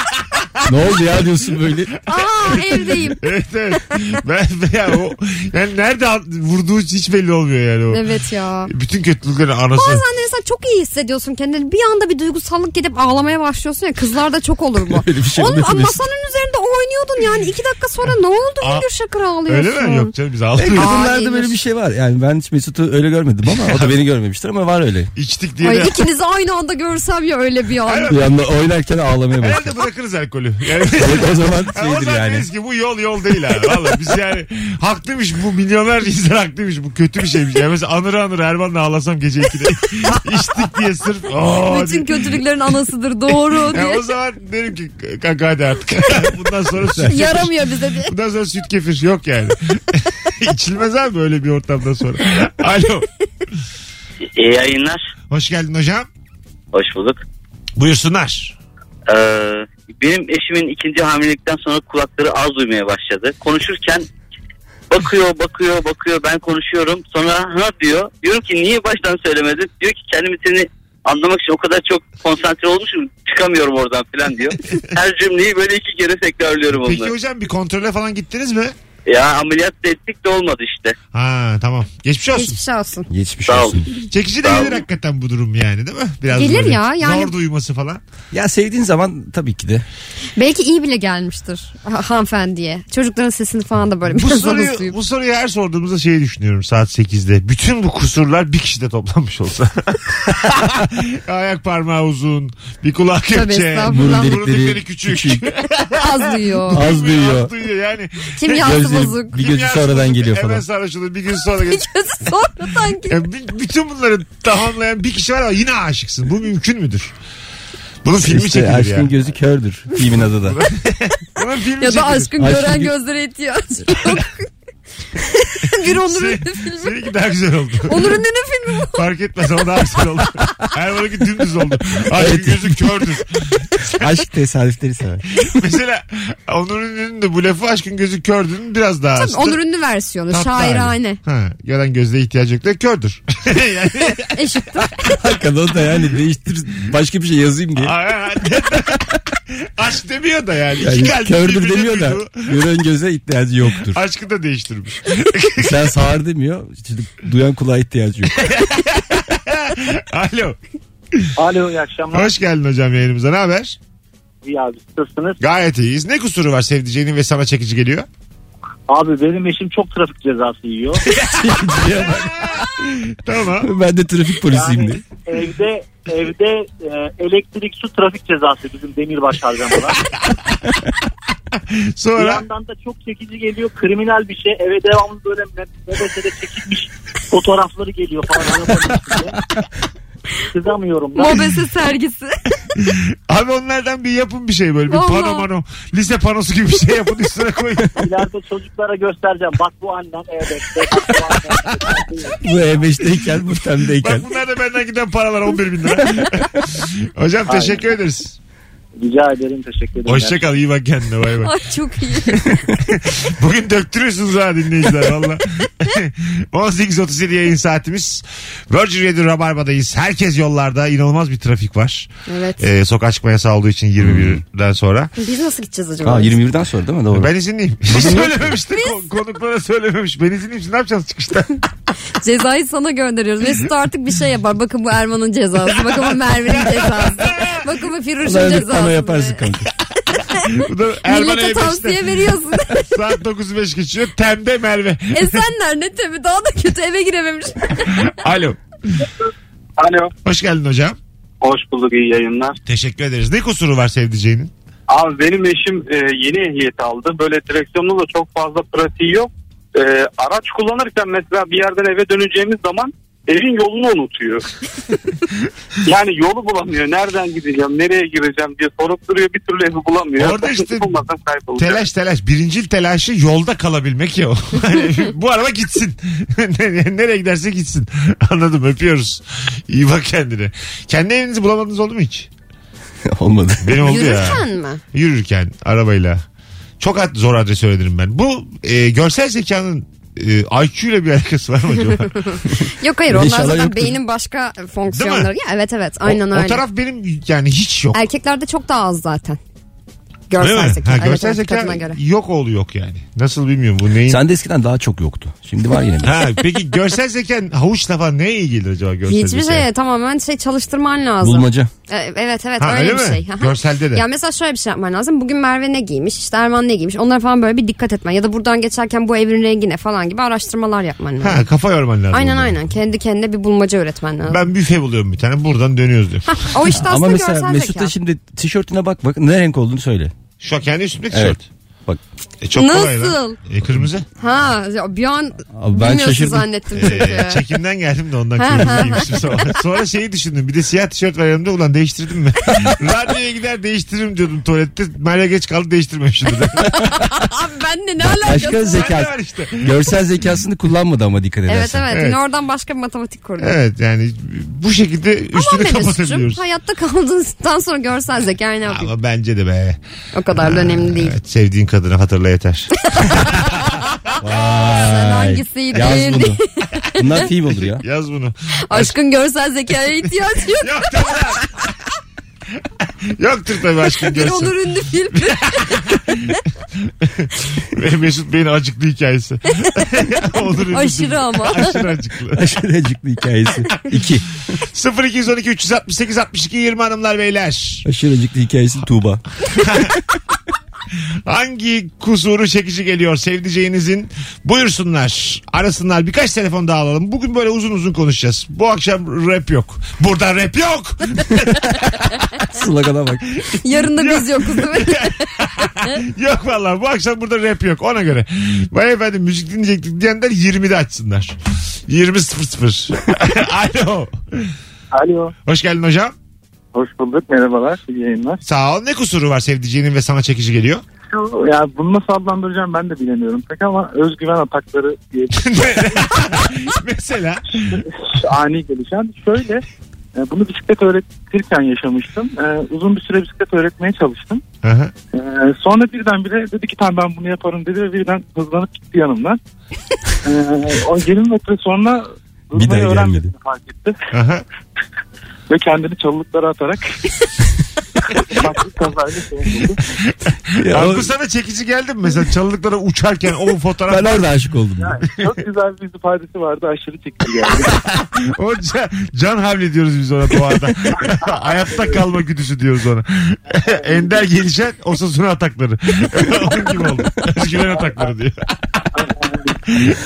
ne oldu ya diyorsun böyle. Aa [LAUGHS] evdeyim. Evet evet. Ben, ya o, yani nerede at- vurduğu hiç belli olmuyor yani o. Evet ya. Bütün kötülüklerin anası. Bazen de insan çok iyi hissediyorsun kendini. Bir anda bir duygusallık gidip ağlamaya başlıyorsun ya. Kızlarda çok olur [LAUGHS] bu. Öyle bir şey Oğlum oluyor. masanın üzerinde oynuyordun yani. iki dakika sonra ne oldu Aa, Müdür Şakır ağlıyorsun? Öyle mi? Yok canım biz E, ağlıyoruz. kadınlarda Aa, böyle bir şey var. Yani ben hiç Mesut'u öyle görmedim ama o da beni görmemiştir ama var [LAUGHS] öyle. İçtik diye Ay de. ikinizi aynı anda görsem ya öyle bir an. Bir anda oynarken ağlamaya başladı. Herhalde bırakırız alkolü. Yani Evet, o zaman Ha, o şeydir zaman yani. deriz ki bu yol yol değil ha. Valla biz yani haklıymış bu milyoner insan haklıymış bu kötü bir şeymiş. Yani mesela anır anır Erman'la ağlasam gece 2'de [LAUGHS] içtik diye sırf. "Aa" Bütün diye. kötülüklerin anasıdır doğru Ya diye. o zaman derim ki kanka hadi artık. [LAUGHS] Bundan sonra süt kefir. Yaramıyor bize diye. Bundan sonra süt kefir yok yani. [LAUGHS] İçilmez abi böyle bir ortamdan sonra. Alo. İyi yayınlar. Hoş geldin hocam. Hoş bulduk. Buyursunlar. Ee, benim eşimin ikinci hamilelikten sonra kulakları az duymaya başladı. Konuşurken bakıyor, bakıyor, bakıyor. Ben konuşuyorum. Sonra ha diyor. Diyorum ki niye baştan söylemedin? Diyor ki kendimi seni anlamak için o kadar çok konsantre olmuşum. Çıkamıyorum oradan falan [LAUGHS] diyor. Her cümleyi böyle iki kere tekrarlıyorum Peki onunla. hocam bir kontrole falan gittiniz mi? Ya ameliyat da ettik de olmadı işte. Ha tamam. Geçmiş olsun. Hiçbir şey olsun. Geçmiş Sağ olsun. Çekici de Sağ gelir olun. hakikaten bu durum yani değil mi? Biraz Gelir böyle ya, yani- Zor duyması falan. Ya sevdiğin zaman tabii ki de. Belki iyi bile gelmiştir ha- hanımefendiye. Çocukların sesini falan da böyle Bu [LAUGHS] biraz az soruyu, duyup. bu soruyu her sorduğumuzda şeyi düşünüyorum saat 8'de. Bütün bu kusurlar bir kişide toplanmış olsa. [LAUGHS] Ayak parmağı uzun, bir kulak Tabii, kepçe, estağfurullah. burun Burun delikleri, delikleri küçük. [LAUGHS] Az duyuyor. Az duyuyor. yani. Kim yazdı Gözleri- bozuk. Bir gözü Kimyasal sonradan olur, geliyor Hemen falan. sarhoşulur bir gün sonra Bir [LAUGHS] gelir. gözü sonradan geliyor. Ya b- bütün bunları tamamlayan bir kişi var ama yine aşıksın. Bu mümkün müdür? Bunun filmi işte çekilir Şey, aşkın ya. gözü kördür. Filmin adı da. Bunun filmi Ya da çekilir. aşkın Aşkın gören gö- gözlere ihtiyacı yok. bir Onur Se- Ünlü filmi. Seninki daha güzel oldu. Onur Ünlü'nün filmi bu. Fark etmez ama daha güzel oldu. Erman'ınki dümdüz oldu. Ay gözü kördür. Aşk tesadüfleri sever. Mesela Onur Ünlü'nün de bu lafı aşkın gözü kördür'ün biraz daha Tabii aslında Onur Ünlü versiyonu. tatlı Şairane. hali. Ha, gören gözde ihtiyacı yok da kördür. [LAUGHS] yani, Eşittir. Hakikaten o da yani değiştir başka bir şey yazayım diye. Aa, aşk demiyor da yani. İki Yani kalbin kördür birbirine demiyor da duyduğu gören göze ihtiyacı yoktur. Aşkı da değiştirmiş. Sen sağır demiyor. işte duyan kulağa ihtiyacı yok. Alo. Alo iyi akşamlar. Hoş geldin hocam yayınımıza. Ne haber? İyi abi nasılsınız? Gayet iyiyiz. Ne kusuru var sevdiceğinin ve sana çekici geliyor? Abi benim eşim çok trafik cezası [LAUGHS] yiyor. Diye bak, Tamam. ben de trafik polisiyim diye. Yani evde evde e, elektrik su trafik cezası bizim demirbaş harcamalar. bir Sonra yandan da çok çekici geliyor. Kriminal bir şey. Eve devamlı böyle me- mebesede çekilmiş fotoğrafları geliyor falan. Anlatamadım size. Kızamıyorum da. Mobese sergisi. abi onlardan bir yapın bir şey böyle. Bir Vallahi. pano mano. Lise panosu gibi bir şey yapın üstüne koyun. İleride çocuklara göstereceğim. Bak bu annem evet. Bak bu annem. Bu E5'teyken bu temdeyken. Bak bunlar da benden giden paralar 11 bin lira. hocam Aynen. teşekkür ederiz. Rica ederim. Teşekkür ederim. Hoşçakal iyi bak kendine bay bay. Ay çok iyi. Bugün döktürüyorsunuz ha dinleyiciler valla. 18.37 yayın saatimiz. Virgin Radio Rabarba'dayız. Herkes yollarda. inanılmaz bir trafik var. Evet. Ee, sokağa çıkma yasağı olduğu için 21'den sonra. Biz nasıl gideceğiz acaba? Ha 21'den sonra değil mi? Doğru. Ben izinliyim. Hiç söylememişti. Ko- Konuklara söylememiş. Ben izinliyim. Ne yapacağız çıkışta? Cezayı sana gönderiyoruz. Mesut artık bir şey yapar. Bakın bu Erman'ın cezası. Bakın bu Merve'nin cezası. Bakın bu Firuş'un Ulan bir cezası. pano yaparsın kanka. Bu da Erman Millete E5'te. tavsiye veriyorsun. [LAUGHS] Saat 9.05 geçiyor. Temde Merve. e senler ne tabii daha da kötü eve girememiş. Alo. Alo. Hoş geldin hocam. Hoş bulduk iyi yayınlar. Teşekkür ederiz. Ne kusuru var sevdiceğinin? Abi benim eşim e, yeni ehliyet aldı. Böyle direksiyonda da çok fazla pratiği yok. E, araç kullanırken mesela bir yerden eve döneceğimiz zaman evin yolunu [LAUGHS] unutuyor. yani yolu bulamıyor. Nereden gideceğim, nereye gireceğim diye sorup duruyor. Bir türlü evi bulamıyor. Orada [LAUGHS] işte Bulmadan kaybolacak. Telaş telaş. Birincil telaşı yolda kalabilmek ya. [LAUGHS] o. Hani Bu araba gitsin. [LAUGHS] Nereye giderse gitsin. [LAUGHS] Anladım öpüyoruz. İyi bak kendine. Kendi evinizi bulamadınız oldu mu hiç? [LAUGHS] Olmadı. Benim oldu ya. Yürürken mi? Yürürken arabayla. Çok ad- zor adres öğrenirim ben. Bu e, görsel zekanın e, IQ ile bir alakası var mı acaba? Yok hayır onlar İnşallah zaten yoktur. beynin başka fonksiyonları. Ya, evet evet [LAUGHS] aynen o, öyle. o taraf benim yani hiç yok. Erkeklerde çok daha az zaten. Değil mi? Görsel zeka. Ha, Evet, görsel evet, zeka kadına göre. yok oğlu yok yani. Nasıl bilmiyorum bu neyin. Sen de eskiden daha çok yoktu. Şimdi var yine. Ha, peki görsel zeken havuçla falan neye iyi gelir acaba görsel Hiçbir zeka? şey tamamen şey çalıştırman lazım. Bulmaca. E, Evet evet Ha, öyle, öyle mi? bir şey. Aha. Görselde de. Ya mesela şöyle bir şey yapman lazım. Bugün Merve ne giymiş işte Erman ne giymiş onlara falan böyle bir dikkat etmen. Ya da buradan geçerken bu evin rengi ne falan gibi araştırmalar yapman lazım. Ha kafa yorman lazım. aynen bunlara. aynen kendi kendine bir bulmaca öğretmen lazım. Ben büfe buluyorum bir tane buradan dönüyoruz diyor. Hah, o işte Ama aslında mesela görsel Mesut zeka. da şimdi tişörtüne bak bak ne renk olduğunu söyle. Şu an kendi üstümdeki Evet. tişört. Bak. E, çok kolay lan. Nasıl? E, [LAUGHS] kırmızı. Ha ya bir an Abi ben bilmiyorsun şaşırdım. zannettim E, çünkü. çekimden geldim de ondan Ha, kırmızı ha. giymişim sonra. Sonra şeyi düşündüm. Bir de siyah tişört var yanımda. Ulan değiştirdim [LAUGHS] mi? Radyoya gider değiştiririm diyordum tuvalette. Meryem geç kaldı [LAUGHS] değiştirmemişim. de. [LAUGHS] Abi benle ne alakası Başka var? Bende zeka. var işte. Görsel zekasını kullanmadı ama dikkat edersen. Evet evet, Evet. yine oradan başka bir matematik kurdu. Evet yani bu şekilde Ama üstünü Melis'cim kapatabiliyoruz. hayatta kaldığından sonra görsel zeka ne yapayım? Ama bence de be. O kadar da önemli değil. Evet, sevdiğin kadını hatırla yeter. [LAUGHS] Sen Ay, Yaz hangisiydin? bunu. Bunlar film olur ya. Yaz bunu. [LAUGHS] Aşkın görsel zekaya ihtiyacı yok. Yok tabii. lan. [LAUGHS] Yoktur tabii aşkın Bir görsün. Onur Ünlü filmi. Mesut Bey'in acıklı hikayesi. Olur üzüldüm. Aşırı ama. Aşırı acıklı. [LAUGHS] Aşırı acıklı hikayesi. [LAUGHS] İki. 0212 368 62 20 hanımlar beyler. Aşırı acıklı hikayesi Tuğba. Hangi kusuru çekici geliyor sevdiceğinizin? Buyursunlar. Arasınlar. Birkaç telefon daha alalım. Bugün böyle uzun uzun konuşacağız. Bu akşam rap yok. Burada rap yok. Slagana bak. Yarın da biz yokuz değil mi? yok vallahi bu akşam burada rap yok ona göre. Vay efendim müzik dinleyecektik diyenler 20'de açsınlar. 20.00. Alo. Alo. Hoş geldin hocam. Hoş bulduk. Merhabalar. İyi yayınlar. Sağ ol. Ne kusuru var sevdiceğinin ve sana çekici geliyor? [LAUGHS] şu ya bunu nasıl adlandıracağım ben de bilemiyorum pek ama özgüven atakları diye Mesela ani gelişen. Şöyle e, bunu bisiklet öğretirken yaşamıştım. E, Uzun bir süre bisiklet öğretmeye çalıştım. Aha. E, Sonra birdenbire dedi ki tamam ben bunu yaparım dedi ve birden hızlanıp gitti yanımdan. E, O 20 metre sonra Bir daha hızlanmayı öğrenmedi gelmedi. fark etti. aha. Ve kendini çalılıklara [LAUGHS] atarak [LAUGHS] farklı kazayla şey oldu. Ya, o- Anku sana çekici geldi mi mesela çalılıklara uçarken o fotoğraf ben orada aşık oldum. ya. Çok güzel bir ifadesi vardı aşırı çekti yani. o can, can havli diyoruz biz ona doğada. [LAUGHS] Hayatta kalma güdüsü diyoruz ona. [LAUGHS] Ender gelişen osasuna atakları. [LAUGHS] Onun gibi oldu. Özgüven atakları diyor. [LAUGHS]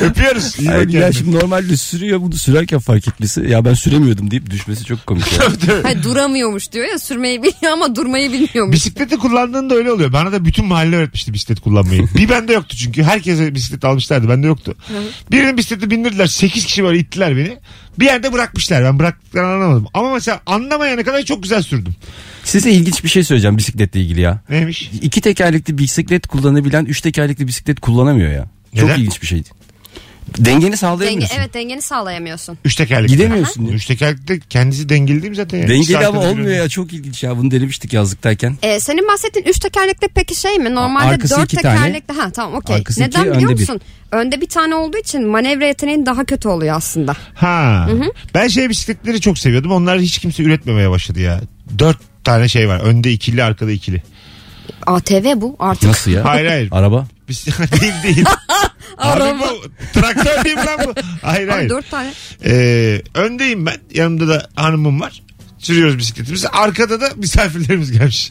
Öpüyoruz. İyi bak Hayır, kendine. ya şimdi normalde sürüyor bunu sürerken fark etmesi ya ben süremiyordum deyip düşmesi çok komik. Ya. Hayır, duramıyormuş diyor ya sürmeyi biliyor ama durmayı bilmiyormuş. Bisikleti kullandığında öyle oluyor. Bana da bütün mahalle öğretmişti bisiklet kullanmayı. bir bende yoktu çünkü. Herkese bisiklet almışlardı. Bende yoktu. Birinin bisikleti bindirdiler. 8 kişi böyle ittiler beni. Bir yerde bırakmışlar. Ben bıraktıklarını anlamadım. Ama mesela anlamayana kadar çok güzel sürdüm. Size ilginç bir şey söyleyeceğim bisikletle ilgili ya. Neymiş? İki tekerlekli bisiklet kullanabilen üç tekerlekli bisiklet kullanamıyor ya. Neden? Çok ilginç bir şey. Dengeni Denge, sağlayamıyorsun. evet dengeni sağlayamıyorsun. Üç tekerlekli. Gidemiyorsun. ya. Üç tekerlekli kendisi dengeli değil mi zaten? ya? İkisi Dengeli arkada ama bir olmuyor önde. ya çok ilginç ya bunu denemiştik yazlıktayken. Ee, senin bahsettiğin üç tekerlekli peki şey mi? Normalde Arkası dört iki tane. tekerlekli. Ha tamam okey. Arkası iki, Neden önde biliyor bir. musun? Önde bir tane olduğu için manevra yeteneğin daha kötü oluyor aslında. Ha. Ben şey bisikletleri çok seviyordum. Onlar hiç kimse üretmemeye başladı ya. Dört tane şey var. Önde ikili arkada ikili. ATV bu artık. Nasıl ya? Hayır, [LAUGHS] hayır. Araba. Bisiklet [LAUGHS] değil [LAUGHS] değil. Abi Araba. bu traktör değil mi lan bu. Hayır Abi hayır. dört tane. Ee, öndeyim ben. Yanımda da hanımım var. Sürüyoruz bisikletimizi. Arkada da misafirlerimiz gelmiş.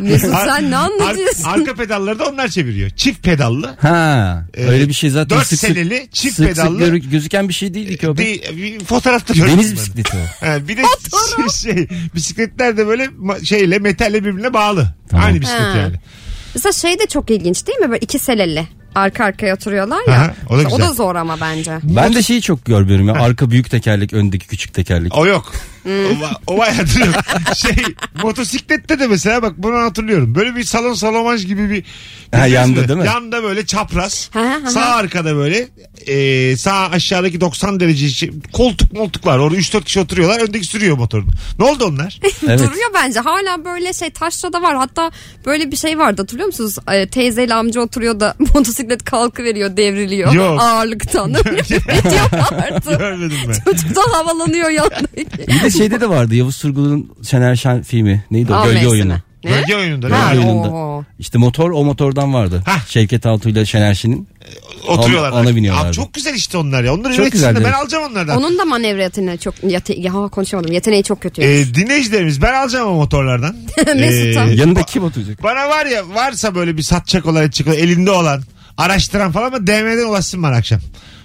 Mesut Ar- [LAUGHS] sen ne ar- anlatıyorsun? arka pedalları da onlar çeviriyor. Çift pedallı. Ha Ee, öyle bir şey zaten dört sık sık, seneli çift sık pedallı. sık görü- gözüken bir şey değildi ki o. be. Bir, bir fotoğrafta gördüm Deniz ben. bisikleti o. Ha, bir de [LAUGHS] şey, şey, bisikletler de böyle ma- şeyle metalle birbirine bağlı. Tamam. Aynı bisiklet Ha. yani. Mesela şey de çok ilginç değil mi? Böyle iki seleli arka arkaya oturuyorlar ya. Aha, o da Mesela güzel. zor ama bence. Ben de şeyi çok görmüyorum ya arka büyük tekerlek öndeki küçük tekerlek. O yok. Hmm. O, va- o bayağıdır yok. Şey motosiklette de mesela bak bunu hatırlıyorum. Böyle bir salon salomaj gibi bir. Ha, yanda mi? değil mi? Yanda böyle çapraz. Ha, ha, ha. sağ arkada böyle. e, sağ aşağıdaki 90 derece içi- koltuk moltuk var. Orada 3-4 kişi oturuyorlar. Öndeki sürüyor motorunu. Ne oldu [LAUGHS] onlar? Evet. Duruyor bence. Hala böyle şey taşrada var. Hatta böyle bir şey vardı hatırlıyor musunuz? Ee, teyzeyle amca oturuyor da [LAUGHS] motosiklet kalkıveriyor devriliyor. Yok. Ağırlıktan. [LAUGHS] Öyle bir video vardı. Görmedim ben. Çocuk da havalanıyor yanındaki. Bir de şeyde de vardı Yavuz Turgul'un Şener Şen filmi. Neydi o? Al Gölge mevsimi. oyunu. Ne? Bölge oyununda. Ha, değil mi? oyununda. Oo. İşte motor o motordan vardı. Hah. Şevket Altuğ ile Şener Şen'in. Oturuyorlar. Ona- ona biniyorlardı. Abi çok güzel işte onlar ya. Onları Çok üretsin de güzeldi. ben alacağım onlardan. Onun da manevra yeteneği çok yete- ya, konuşamadım. Yeteneği çok kötü. Ee, dinleyicilerimiz ben alacağım o [LAUGHS] motorlardan. Mesut'a. Ee, Yanında kim oturacak? Bana var ya varsa böyle bir satacak olan edecek olan elinde olan araştıran falan ama DM'den ulaşsın bana akşam.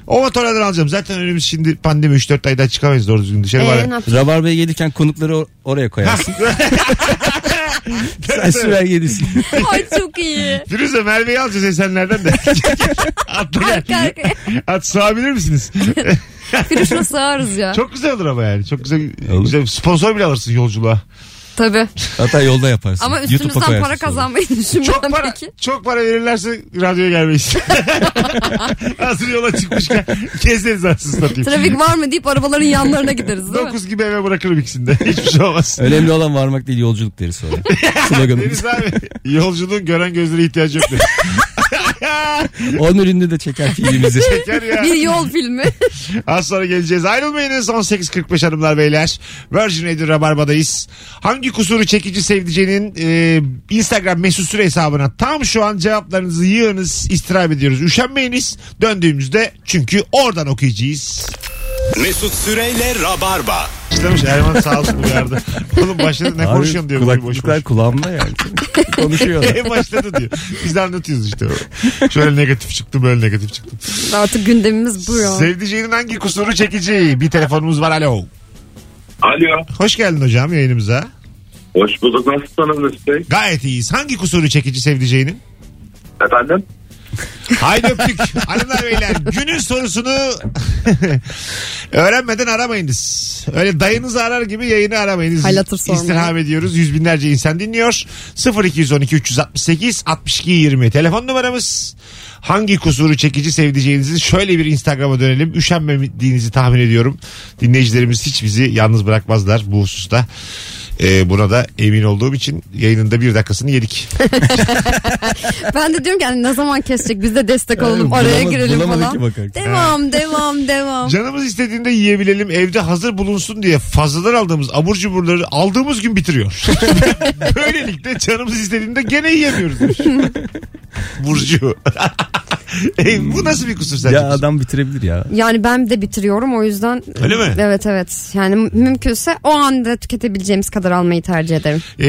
O motorlardan alacağım. Zaten önümüz şimdi pandemi 3-4 ayda çıkamayız doğru düzgün dışarı. Ee, var. ne yap- [LAUGHS] Rabar Bey gelirken konukları or- [LAUGHS] oraya koyarsın. Sen sürer gelirsin. Ay çok iyi. Firuze Merve'yi alacağız Esenler'den [LAUGHS] de. Atla Arka gel. arkaya. At sığabilir [LAUGHS] misiniz? Firuşla sığarız ya. Çok güzel olur ama yani. Çok güzel, Olur. güzel sponsor bile alırsın yolculuğa. Tabii. Hatta yolda yaparsın. Ama YouTube'a üstümüzden koyarsın para sonra. kazanmayı düşünmem Çok para, peki. çok para verirlerse radyoya [LAUGHS] gelmeyiz. Hazır yola çıkmışken gezeriz aslında satayım. Trafik var mı deyip arabaların yanlarına gideriz değil mi? 9 gibi eve bırakırım ikisini de. [LAUGHS] Hiçbir şey olmaz. Önemli olan varmak değil yolculuk [LAUGHS] deriz sonra. Sloganımız. Deniz abi yolculuğun gören gözlere ihtiyacı yok. [LAUGHS] dedi. Onun ürünü de çeker filmimizi. [LAUGHS] Yeter ya. Bir yol filmi. Az sonra geleceğiz. Ayrılmayınız. 18.45 hanımlar beyler. Virgin Radio Rabarba'dayız. Hangi kusuru çekici sevdicenin e, Instagram mesut süre hesabına tam şu an cevaplarınızı yığınız. İstirham ediyoruz. Üşenmeyiniz. Döndüğümüzde çünkü oradan okuyacağız. Mesut Süreyle Rabarba. İşlemiş Erman sağ olsun uyardı. [LAUGHS] Oğlum başladı ne Abi, konuşuyorsun diyor. boy boş boş. Kulaklıklar kulağımda yani. [LAUGHS] Konuşuyorlar. E, başladı diyor. Biz de anlatıyoruz işte. Şöyle negatif çıktı böyle negatif çıktı. Artık gündemimiz bu ya. Sevdiceğinin hangi kusuru çekici? Bir telefonumuz var alo. Alo. Hoş geldin hocam yayınımıza. Hoş bulduk. Nasılsınız Mesut Bey? Gayet iyiyiz. Hangi kusuru çekici sevdiceğinin? Efendim? Haydi öptük. [LAUGHS] Hanımlar beyler günün sorusunu [LAUGHS] öğrenmeden aramayınız. Öyle dayınızı arar gibi yayını aramayınız. Haylatır sormayın. İstirham ediyoruz. Yüz binlerce insan dinliyor. 0212 368 62 20 telefon numaramız. Hangi kusuru çekici sevdiceğinizi şöyle bir Instagram'a dönelim. Üşenmediğinizi tahmin ediyorum. Dinleyicilerimiz hiç bizi yalnız bırakmazlar bu hususta. Ee, buna da emin olduğum için yayınında bir dakikasını yedik. Ben de diyorum ki hani ne zaman kesecek biz de destek olalım [LAUGHS] araya Bulama- girelim bulamadı falan. ki bakar. Devam devam devam. Canımız istediğinde yiyebilelim evde hazır bulunsun diye fazladan aldığımız abur cuburları aldığımız gün bitiriyor. [LAUGHS] Böylelikle canımız istediğinde gene yiyemiyoruz. [LAUGHS] demiş. Burcu. [LAUGHS] Ey, bu nasıl bir kusur sence? Ya adam bitirebilir ya. Yani ben de bitiriyorum o yüzden. Öyle mi? Evet evet. Yani mü- mümkünse o anda tüketebileceğimiz kadar almayı tercih ederim. Ee,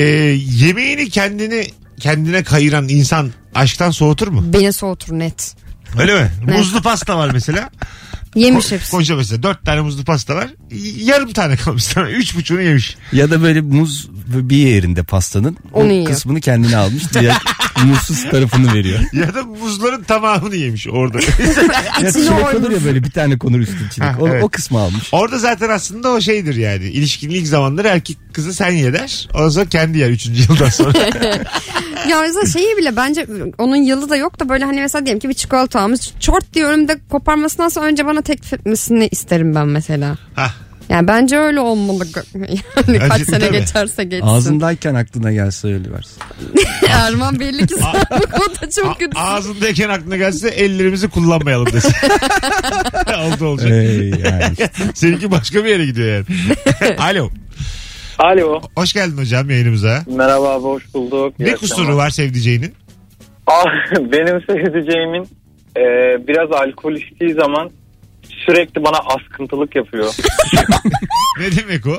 yemeğini kendini kendine kayıran insan aşktan soğutur mu? Beni soğutur net. Öyle mi? Evet. Muzlu pasta var mesela. Yemiş Ko- hepsi. koca mesela. Dört tane muzlu pasta var. Y- Yarım tane kalmış [LAUGHS] sana. Üç buçuğunu yemiş. Ya da böyle muz bir yerinde pastanın Onu o yiyor. kısmını kendine almış [LAUGHS] diğer muzsuz tarafını veriyor. Ya da muzların tamamını yemiş orada. Ya İçine çilek olur oymuş. Ah, ya böyle bir tane konur üstüne çilek. O, Ha, evet. o kısmı almış. Orada zaten aslında o şeydir yani. İlişkinin ilk zamanları erkek kızı sen yeder. Ondan sonra kendi yer 3. yıldan sonra. Ya mesela şeyi bile bence onun yılı da yok da böyle hani mesela diyelim ki bir çikolata almış. Çort diye önümde koparmasındansa önce bana teklif etmesini isterim ben mesela. Hah. Yani bence öyle olmalı. [LAUGHS] Yani kaç Bence sene tabii. geçerse geçsin. Ağzındayken aklına gelse öyle versin. Erman belli ki sen bu da A- çok kötü. ağzındayken aklına gelse ellerimizi kullanmayalım desin. [LAUGHS] Oldu olacak. Ey yani. Seninki başka bir yere gidiyor yani. Alo. Alo. Hoş geldin hocam yayınımıza. Merhaba abi hoş bulduk. İyi Ne akşamlar. kusuru var sevdiceğinin? Ah, [LAUGHS] benim sevdiceğimin e, biraz alkol içtiği zaman sürekli bana [LAUGHS] askıntılık yapıyor. Ne demek o?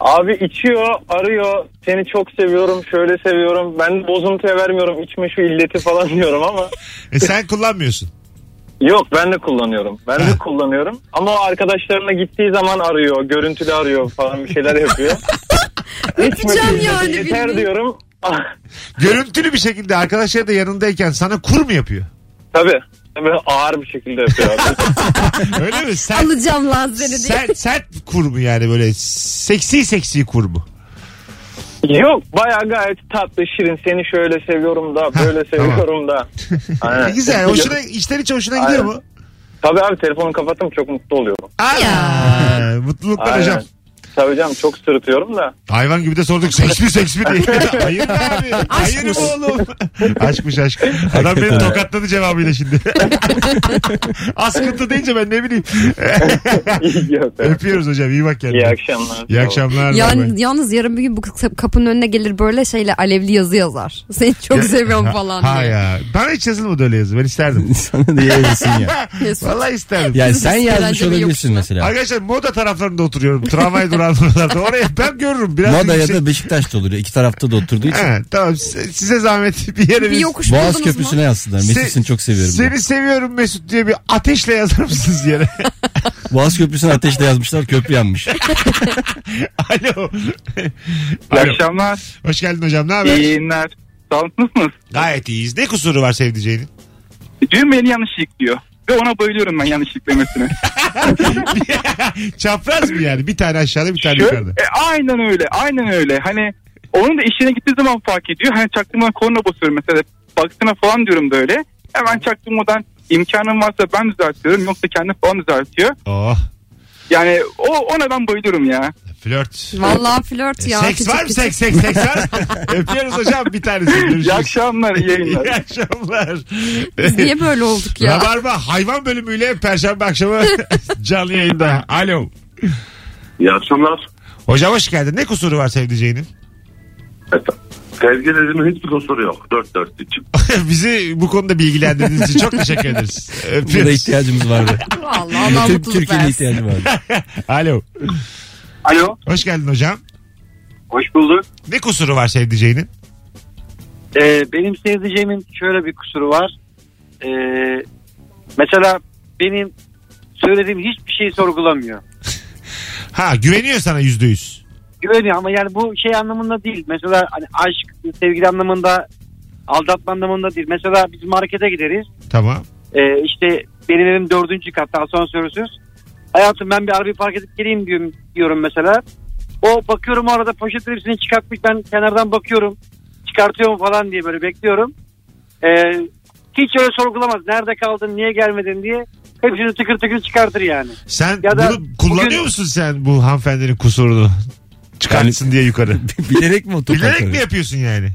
Abi içiyor, arıyor. Seni çok seviyorum, şöyle seviyorum. Ben bozuntuya vermiyorum, içme şu illeti falan [LAUGHS] diyorum ama. E sen kullanmıyorsun. Yok ben de kullanıyorum. Ben [LAUGHS] Ha. de kullanıyorum. Ama o arkadaşlarına gittiği zaman arıyor, görüntülü arıyor falan bir şeyler yapıyor. [LAUGHS] Öpeceğim yani. Yeter bildiğin. diyorum. Ah, Görüntülü bir şekilde arkadaşları da yanındayken sana kur mu yapıyor? tabii. Tabii ağır bir şekilde yapıyor [LAUGHS] abi. Öyle mi? Sert, Alacağım lazeri diye. sert, sert kur mu yani böyle seksi seksi kur mu? Yok baya gayet tatlı şirin seni şöyle seviyorum da böyle tamam. [LAUGHS] seviyorum da. Ne Aynen. E, güzel. Hoşuna, içten içe hoşuna gidiyor Aynen. mu? Tabii abi telefonu kapattım çok mutlu oluyorum. Aa, Ee, mutluluklar Aynen. hocam. Tabii canım çok sırıtıyorum da. [LAUGHS] Hayvan gibi de sorduk. Seks mi seks mi [LAUGHS] diye. Hayır be abi. Hayır mı oğlum? Aşkmış aşk. Adam beni Hakikaten. tokatladı cevabıyla [LAUGHS] şimdi. Askıntı deyince ben ne [LAUGHS] bileyim. Yok be. Öpüyoruz hocam. iyi bak kendine. İyi akşamlar. İyi akşamlar. bay Yan, bay. yalnız yarın bir gün bu kısa- kapının önüne gelir böyle şeyle alevli yazı yazar. Seni çok seviyorum Ha- falan Ha diye. ya. Bana hiç yazılmadı öyle yazı. Ben isterdim. Sana da yemesin ya. Mesut. Vallahi isterdim. Yani sen yazmış Eğlenceli olabilirsin yokuşuna. mesela. Arkadaşlar moda taraflarında oturuyorum. Tramvay [LAUGHS] duranlarda. Oraya ben görürüm. Biraz Moda ya yüksek- da Beşiktaş'ta olur. ya. İki tarafta da oturduğu için. Ha, tamam size, size zahmet bir yere Bir biz- yokuş Boğaz buldunuz mu? Köprüsü'ne yazsınlar. Mesut Se- seni çok seviyorum. diye. Seni seviyorum Mesut diye bir ateşle yazar mısınız yere? Boğaz Köprüsü'ne ateşle yazmışlar. Köprü [LAUGHS] yanmış. Alo. İyi Alo. akşamlar. Hoş geldin hocam ne haber? İyi yayınlar. Sağ olun, nasılsınız? Gayet iyiyiz. Ne kusuru var sevdiceğinin? Düğmeli yanlışlık diyor. Ve ona bayılıyorum ben yanlışlık demesine. [LAUGHS] Çapraz mı yani? Bir tane aşağıda bir tane Şöyle- yukarıda. E, aynen öyle. Aynen öyle. Hani onun da işine gittiği zaman fark ediyor. Hani çaktırmadan korna basıyorum mesela. Baksana falan diyorum böyle. Hemen çaktırmadan imkanım varsa ben düzeltiyorum. Yoksa kendi falan düzeltiyor. Oh Yani o ona ben bayılıyorum ya. flört. Vallahi flört ya. seks Küçük var mı? küçük. Seks seks seks [LAUGHS] var mı? Öpüyoruz hocam bir tanesi. Görüşürüz. İyi akşamlar, iyi yayınlar. İyi akşamlar. Biz niye böyle olduk ya? Rabarba hayvan bölümüyle Perşembe akşamı canlı yayında. Alo. İyi akşamlar. Hocam hoş geldin. Ne kusuru var sevdiceğinin? Sevgilerimin hiçbir kusuru yok. Dört dört için. [LAUGHS] Bizi bu konuda bilgilendirdiğiniz için çok teşekkür [LAUGHS] ederiz. Bu da Öpüyoruz. ihtiyacımız vardı. Allah Allah Tüm mutluluk Türkiye'nin versin. ihtiyacı vardı. [LAUGHS] [LAUGHS] Alo. Alo. Hoş geldin hocam. Hoş bulduk. Ne kusuru var sevdiceğinin? Ee, benim sevdiceğimin şöyle bir kusuru var. Ee, mesela benim söylediğim hiçbir şeyi sorgulamıyor. Ha güveniyor sana yüzde yüz. Güveniyor ama yani bu şey anlamında değil. Mesela hani aşk, sevgili anlamında Aldatma anlamında değil. Mesela biz markete gideriz. Tamam. Ee, işte benim evim dördüncü katta asansörsüz. Hayatım ben bir arabayı park edip geleyim diyorum, diyorum mesela. O bakıyorum o arada poşet hepsini çıkartmış ben kenardan bakıyorum. Çıkartıyor mu falan diye böyle bekliyorum. Ee, hiç öyle sorgulamaz. Nerede kaldın niye gelmedin diye. Hepsini tıkır tıkır çıkartır yani. Sen Ya da bunu kullanıyor musun sen bu hanımefendinin kusurunu? Çıkartsın diye [LAUGHS] yukarı. Bilerek mi otopark Bilerek mi arıyor? yapıyorsun yani?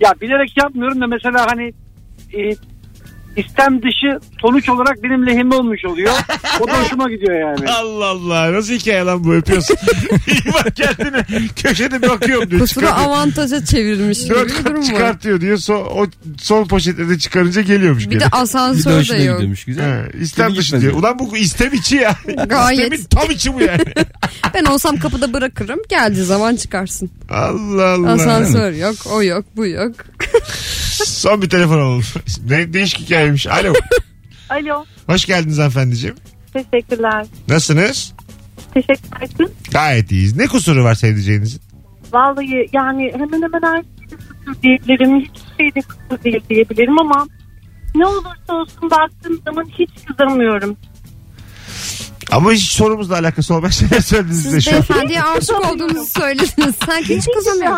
Ya bilerek yapmıyorum da mesela hani e, istem dışı sonuç olarak benim lehime olmuş oluyor. O da hoşuma gidiyor yani. Allah Allah nasıl hikaye lan bu [LAUGHS] öpüyorsun. İyi bak kendine köşede bakıyorum diyor. Kusuru Çıkartıyor. avantaja çevirmiş gibi Dört bir kat durum var. çıkartıyor diyor. So, o son poşetleri çıkarınca geliyormuş. Bir de geri. asansör Bir de hoşuna da yok. gidiyormuş, He, istem dışı diyor. Ulan bu istem içi [LAUGHS] ya. Gayet. İstemin tam içi bu [LAUGHS] yani. Ben olsam kapıda bırakırım. Geldiği zaman çıkarsın. Allah Allah. Asansör yok, o yok, bu yok. Son bir telefon alalım. Ne değişik hikayemiş. [LAUGHS] Alo. Alo. Hoş geldiniz hanımefendiciğim. Teşekkürler. Nasılsınız? Teşekkür ederim. Gayet iyiyiz. Ne kusuru var sevdiceğinizin? Vallahi yani hemen hemen her şeyde kusur diyebilirim. Hiçbir şeyde kusur değil diyebilirim ama ne olursa olsun baktığım zaman hiç kızamıyorum. Ama hiç sorumuzla alakası olmayan [LAUGHS] şeyler söylediniz Siz de şu an. beyefendiye aşık olduğunuzu söylediniz. Sanki hiç kızamıyor.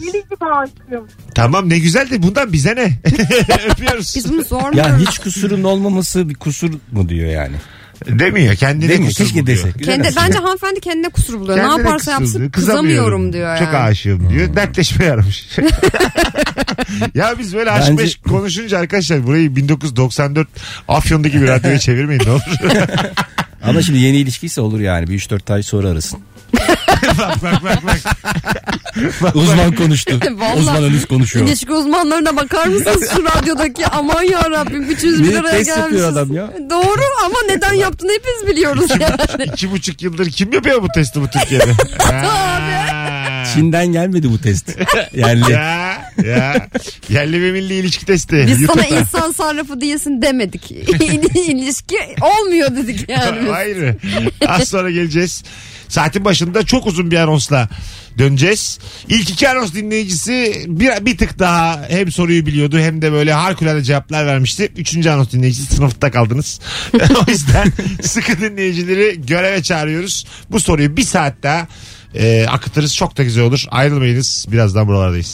Deli gibi aşığım. Tamam ne güzel de bundan bize [LAUGHS] ne? Öpüyoruz. Biz bunu zor Ya hiç kusurun olmaması bir kusur mu diyor yani? Demiyor kendine Demiyor. kusur Keşke buluyor. dese. Kendi, bence hanımefendi kendine kusur buluyor. Kendine ne yaparsa yapsın kızıldı, kızamıyorum diyor yani. Hmm. Çok aşığım diyor. Dertleşmeye [LAUGHS] aramış. [LAUGHS] ya biz böyle aşk Bence- meşk konuşunca arkadaşlar burayı 1994 Afyon'daki bir [LAUGHS] radyoya çevirmeyin ne olur. Ama şimdi yeni ilişkiyse olur yani. Bir 3-4 ay sonra [LAUGHS] arasın. bak bak bak. bak. Uzman konuştu. [LAUGHS] Vallahi. Uzman analiz konuşuyor. İlişki uzmanlarına bakar mısınız şu radyodaki aman yarabbim 300 bin Bir de liraya test yapıyor gelmişiz. adam ya. Doğru ama neden yaptığını hepimiz biliyoruz [LAUGHS] yani. İki buçuk yıldır kim yapıyor bu testi bu [LAUGHS] Türkiye'de? Ha. Çin'den gelmedi bu [LAUGHS] test. Yani ya ya. Yerli ve milli ilişki testi. Biz sana YouTube'da. insan sarrafı diyesin demedik. [LAUGHS] İlişki olmuyor dedik yani. biz. Hayır. Az sonra geleceğiz. Saatin başında çok uzun bir anonsla döneceğiz. İlk iki anons dinleyicisi bir, bir tık daha hem soruyu biliyordu hem de böyle harikulade cevaplar vermişti. Üçüncü anons dinleyicisi sınıfta kaldınız. [LAUGHS] o yüzden sıkı dinleyicileri göreve çağırıyoruz. Bu soruyu bir saat daha e, akıtırız. Çok da güzel olur. Ayrılmayınız. Birazdan buralardayız.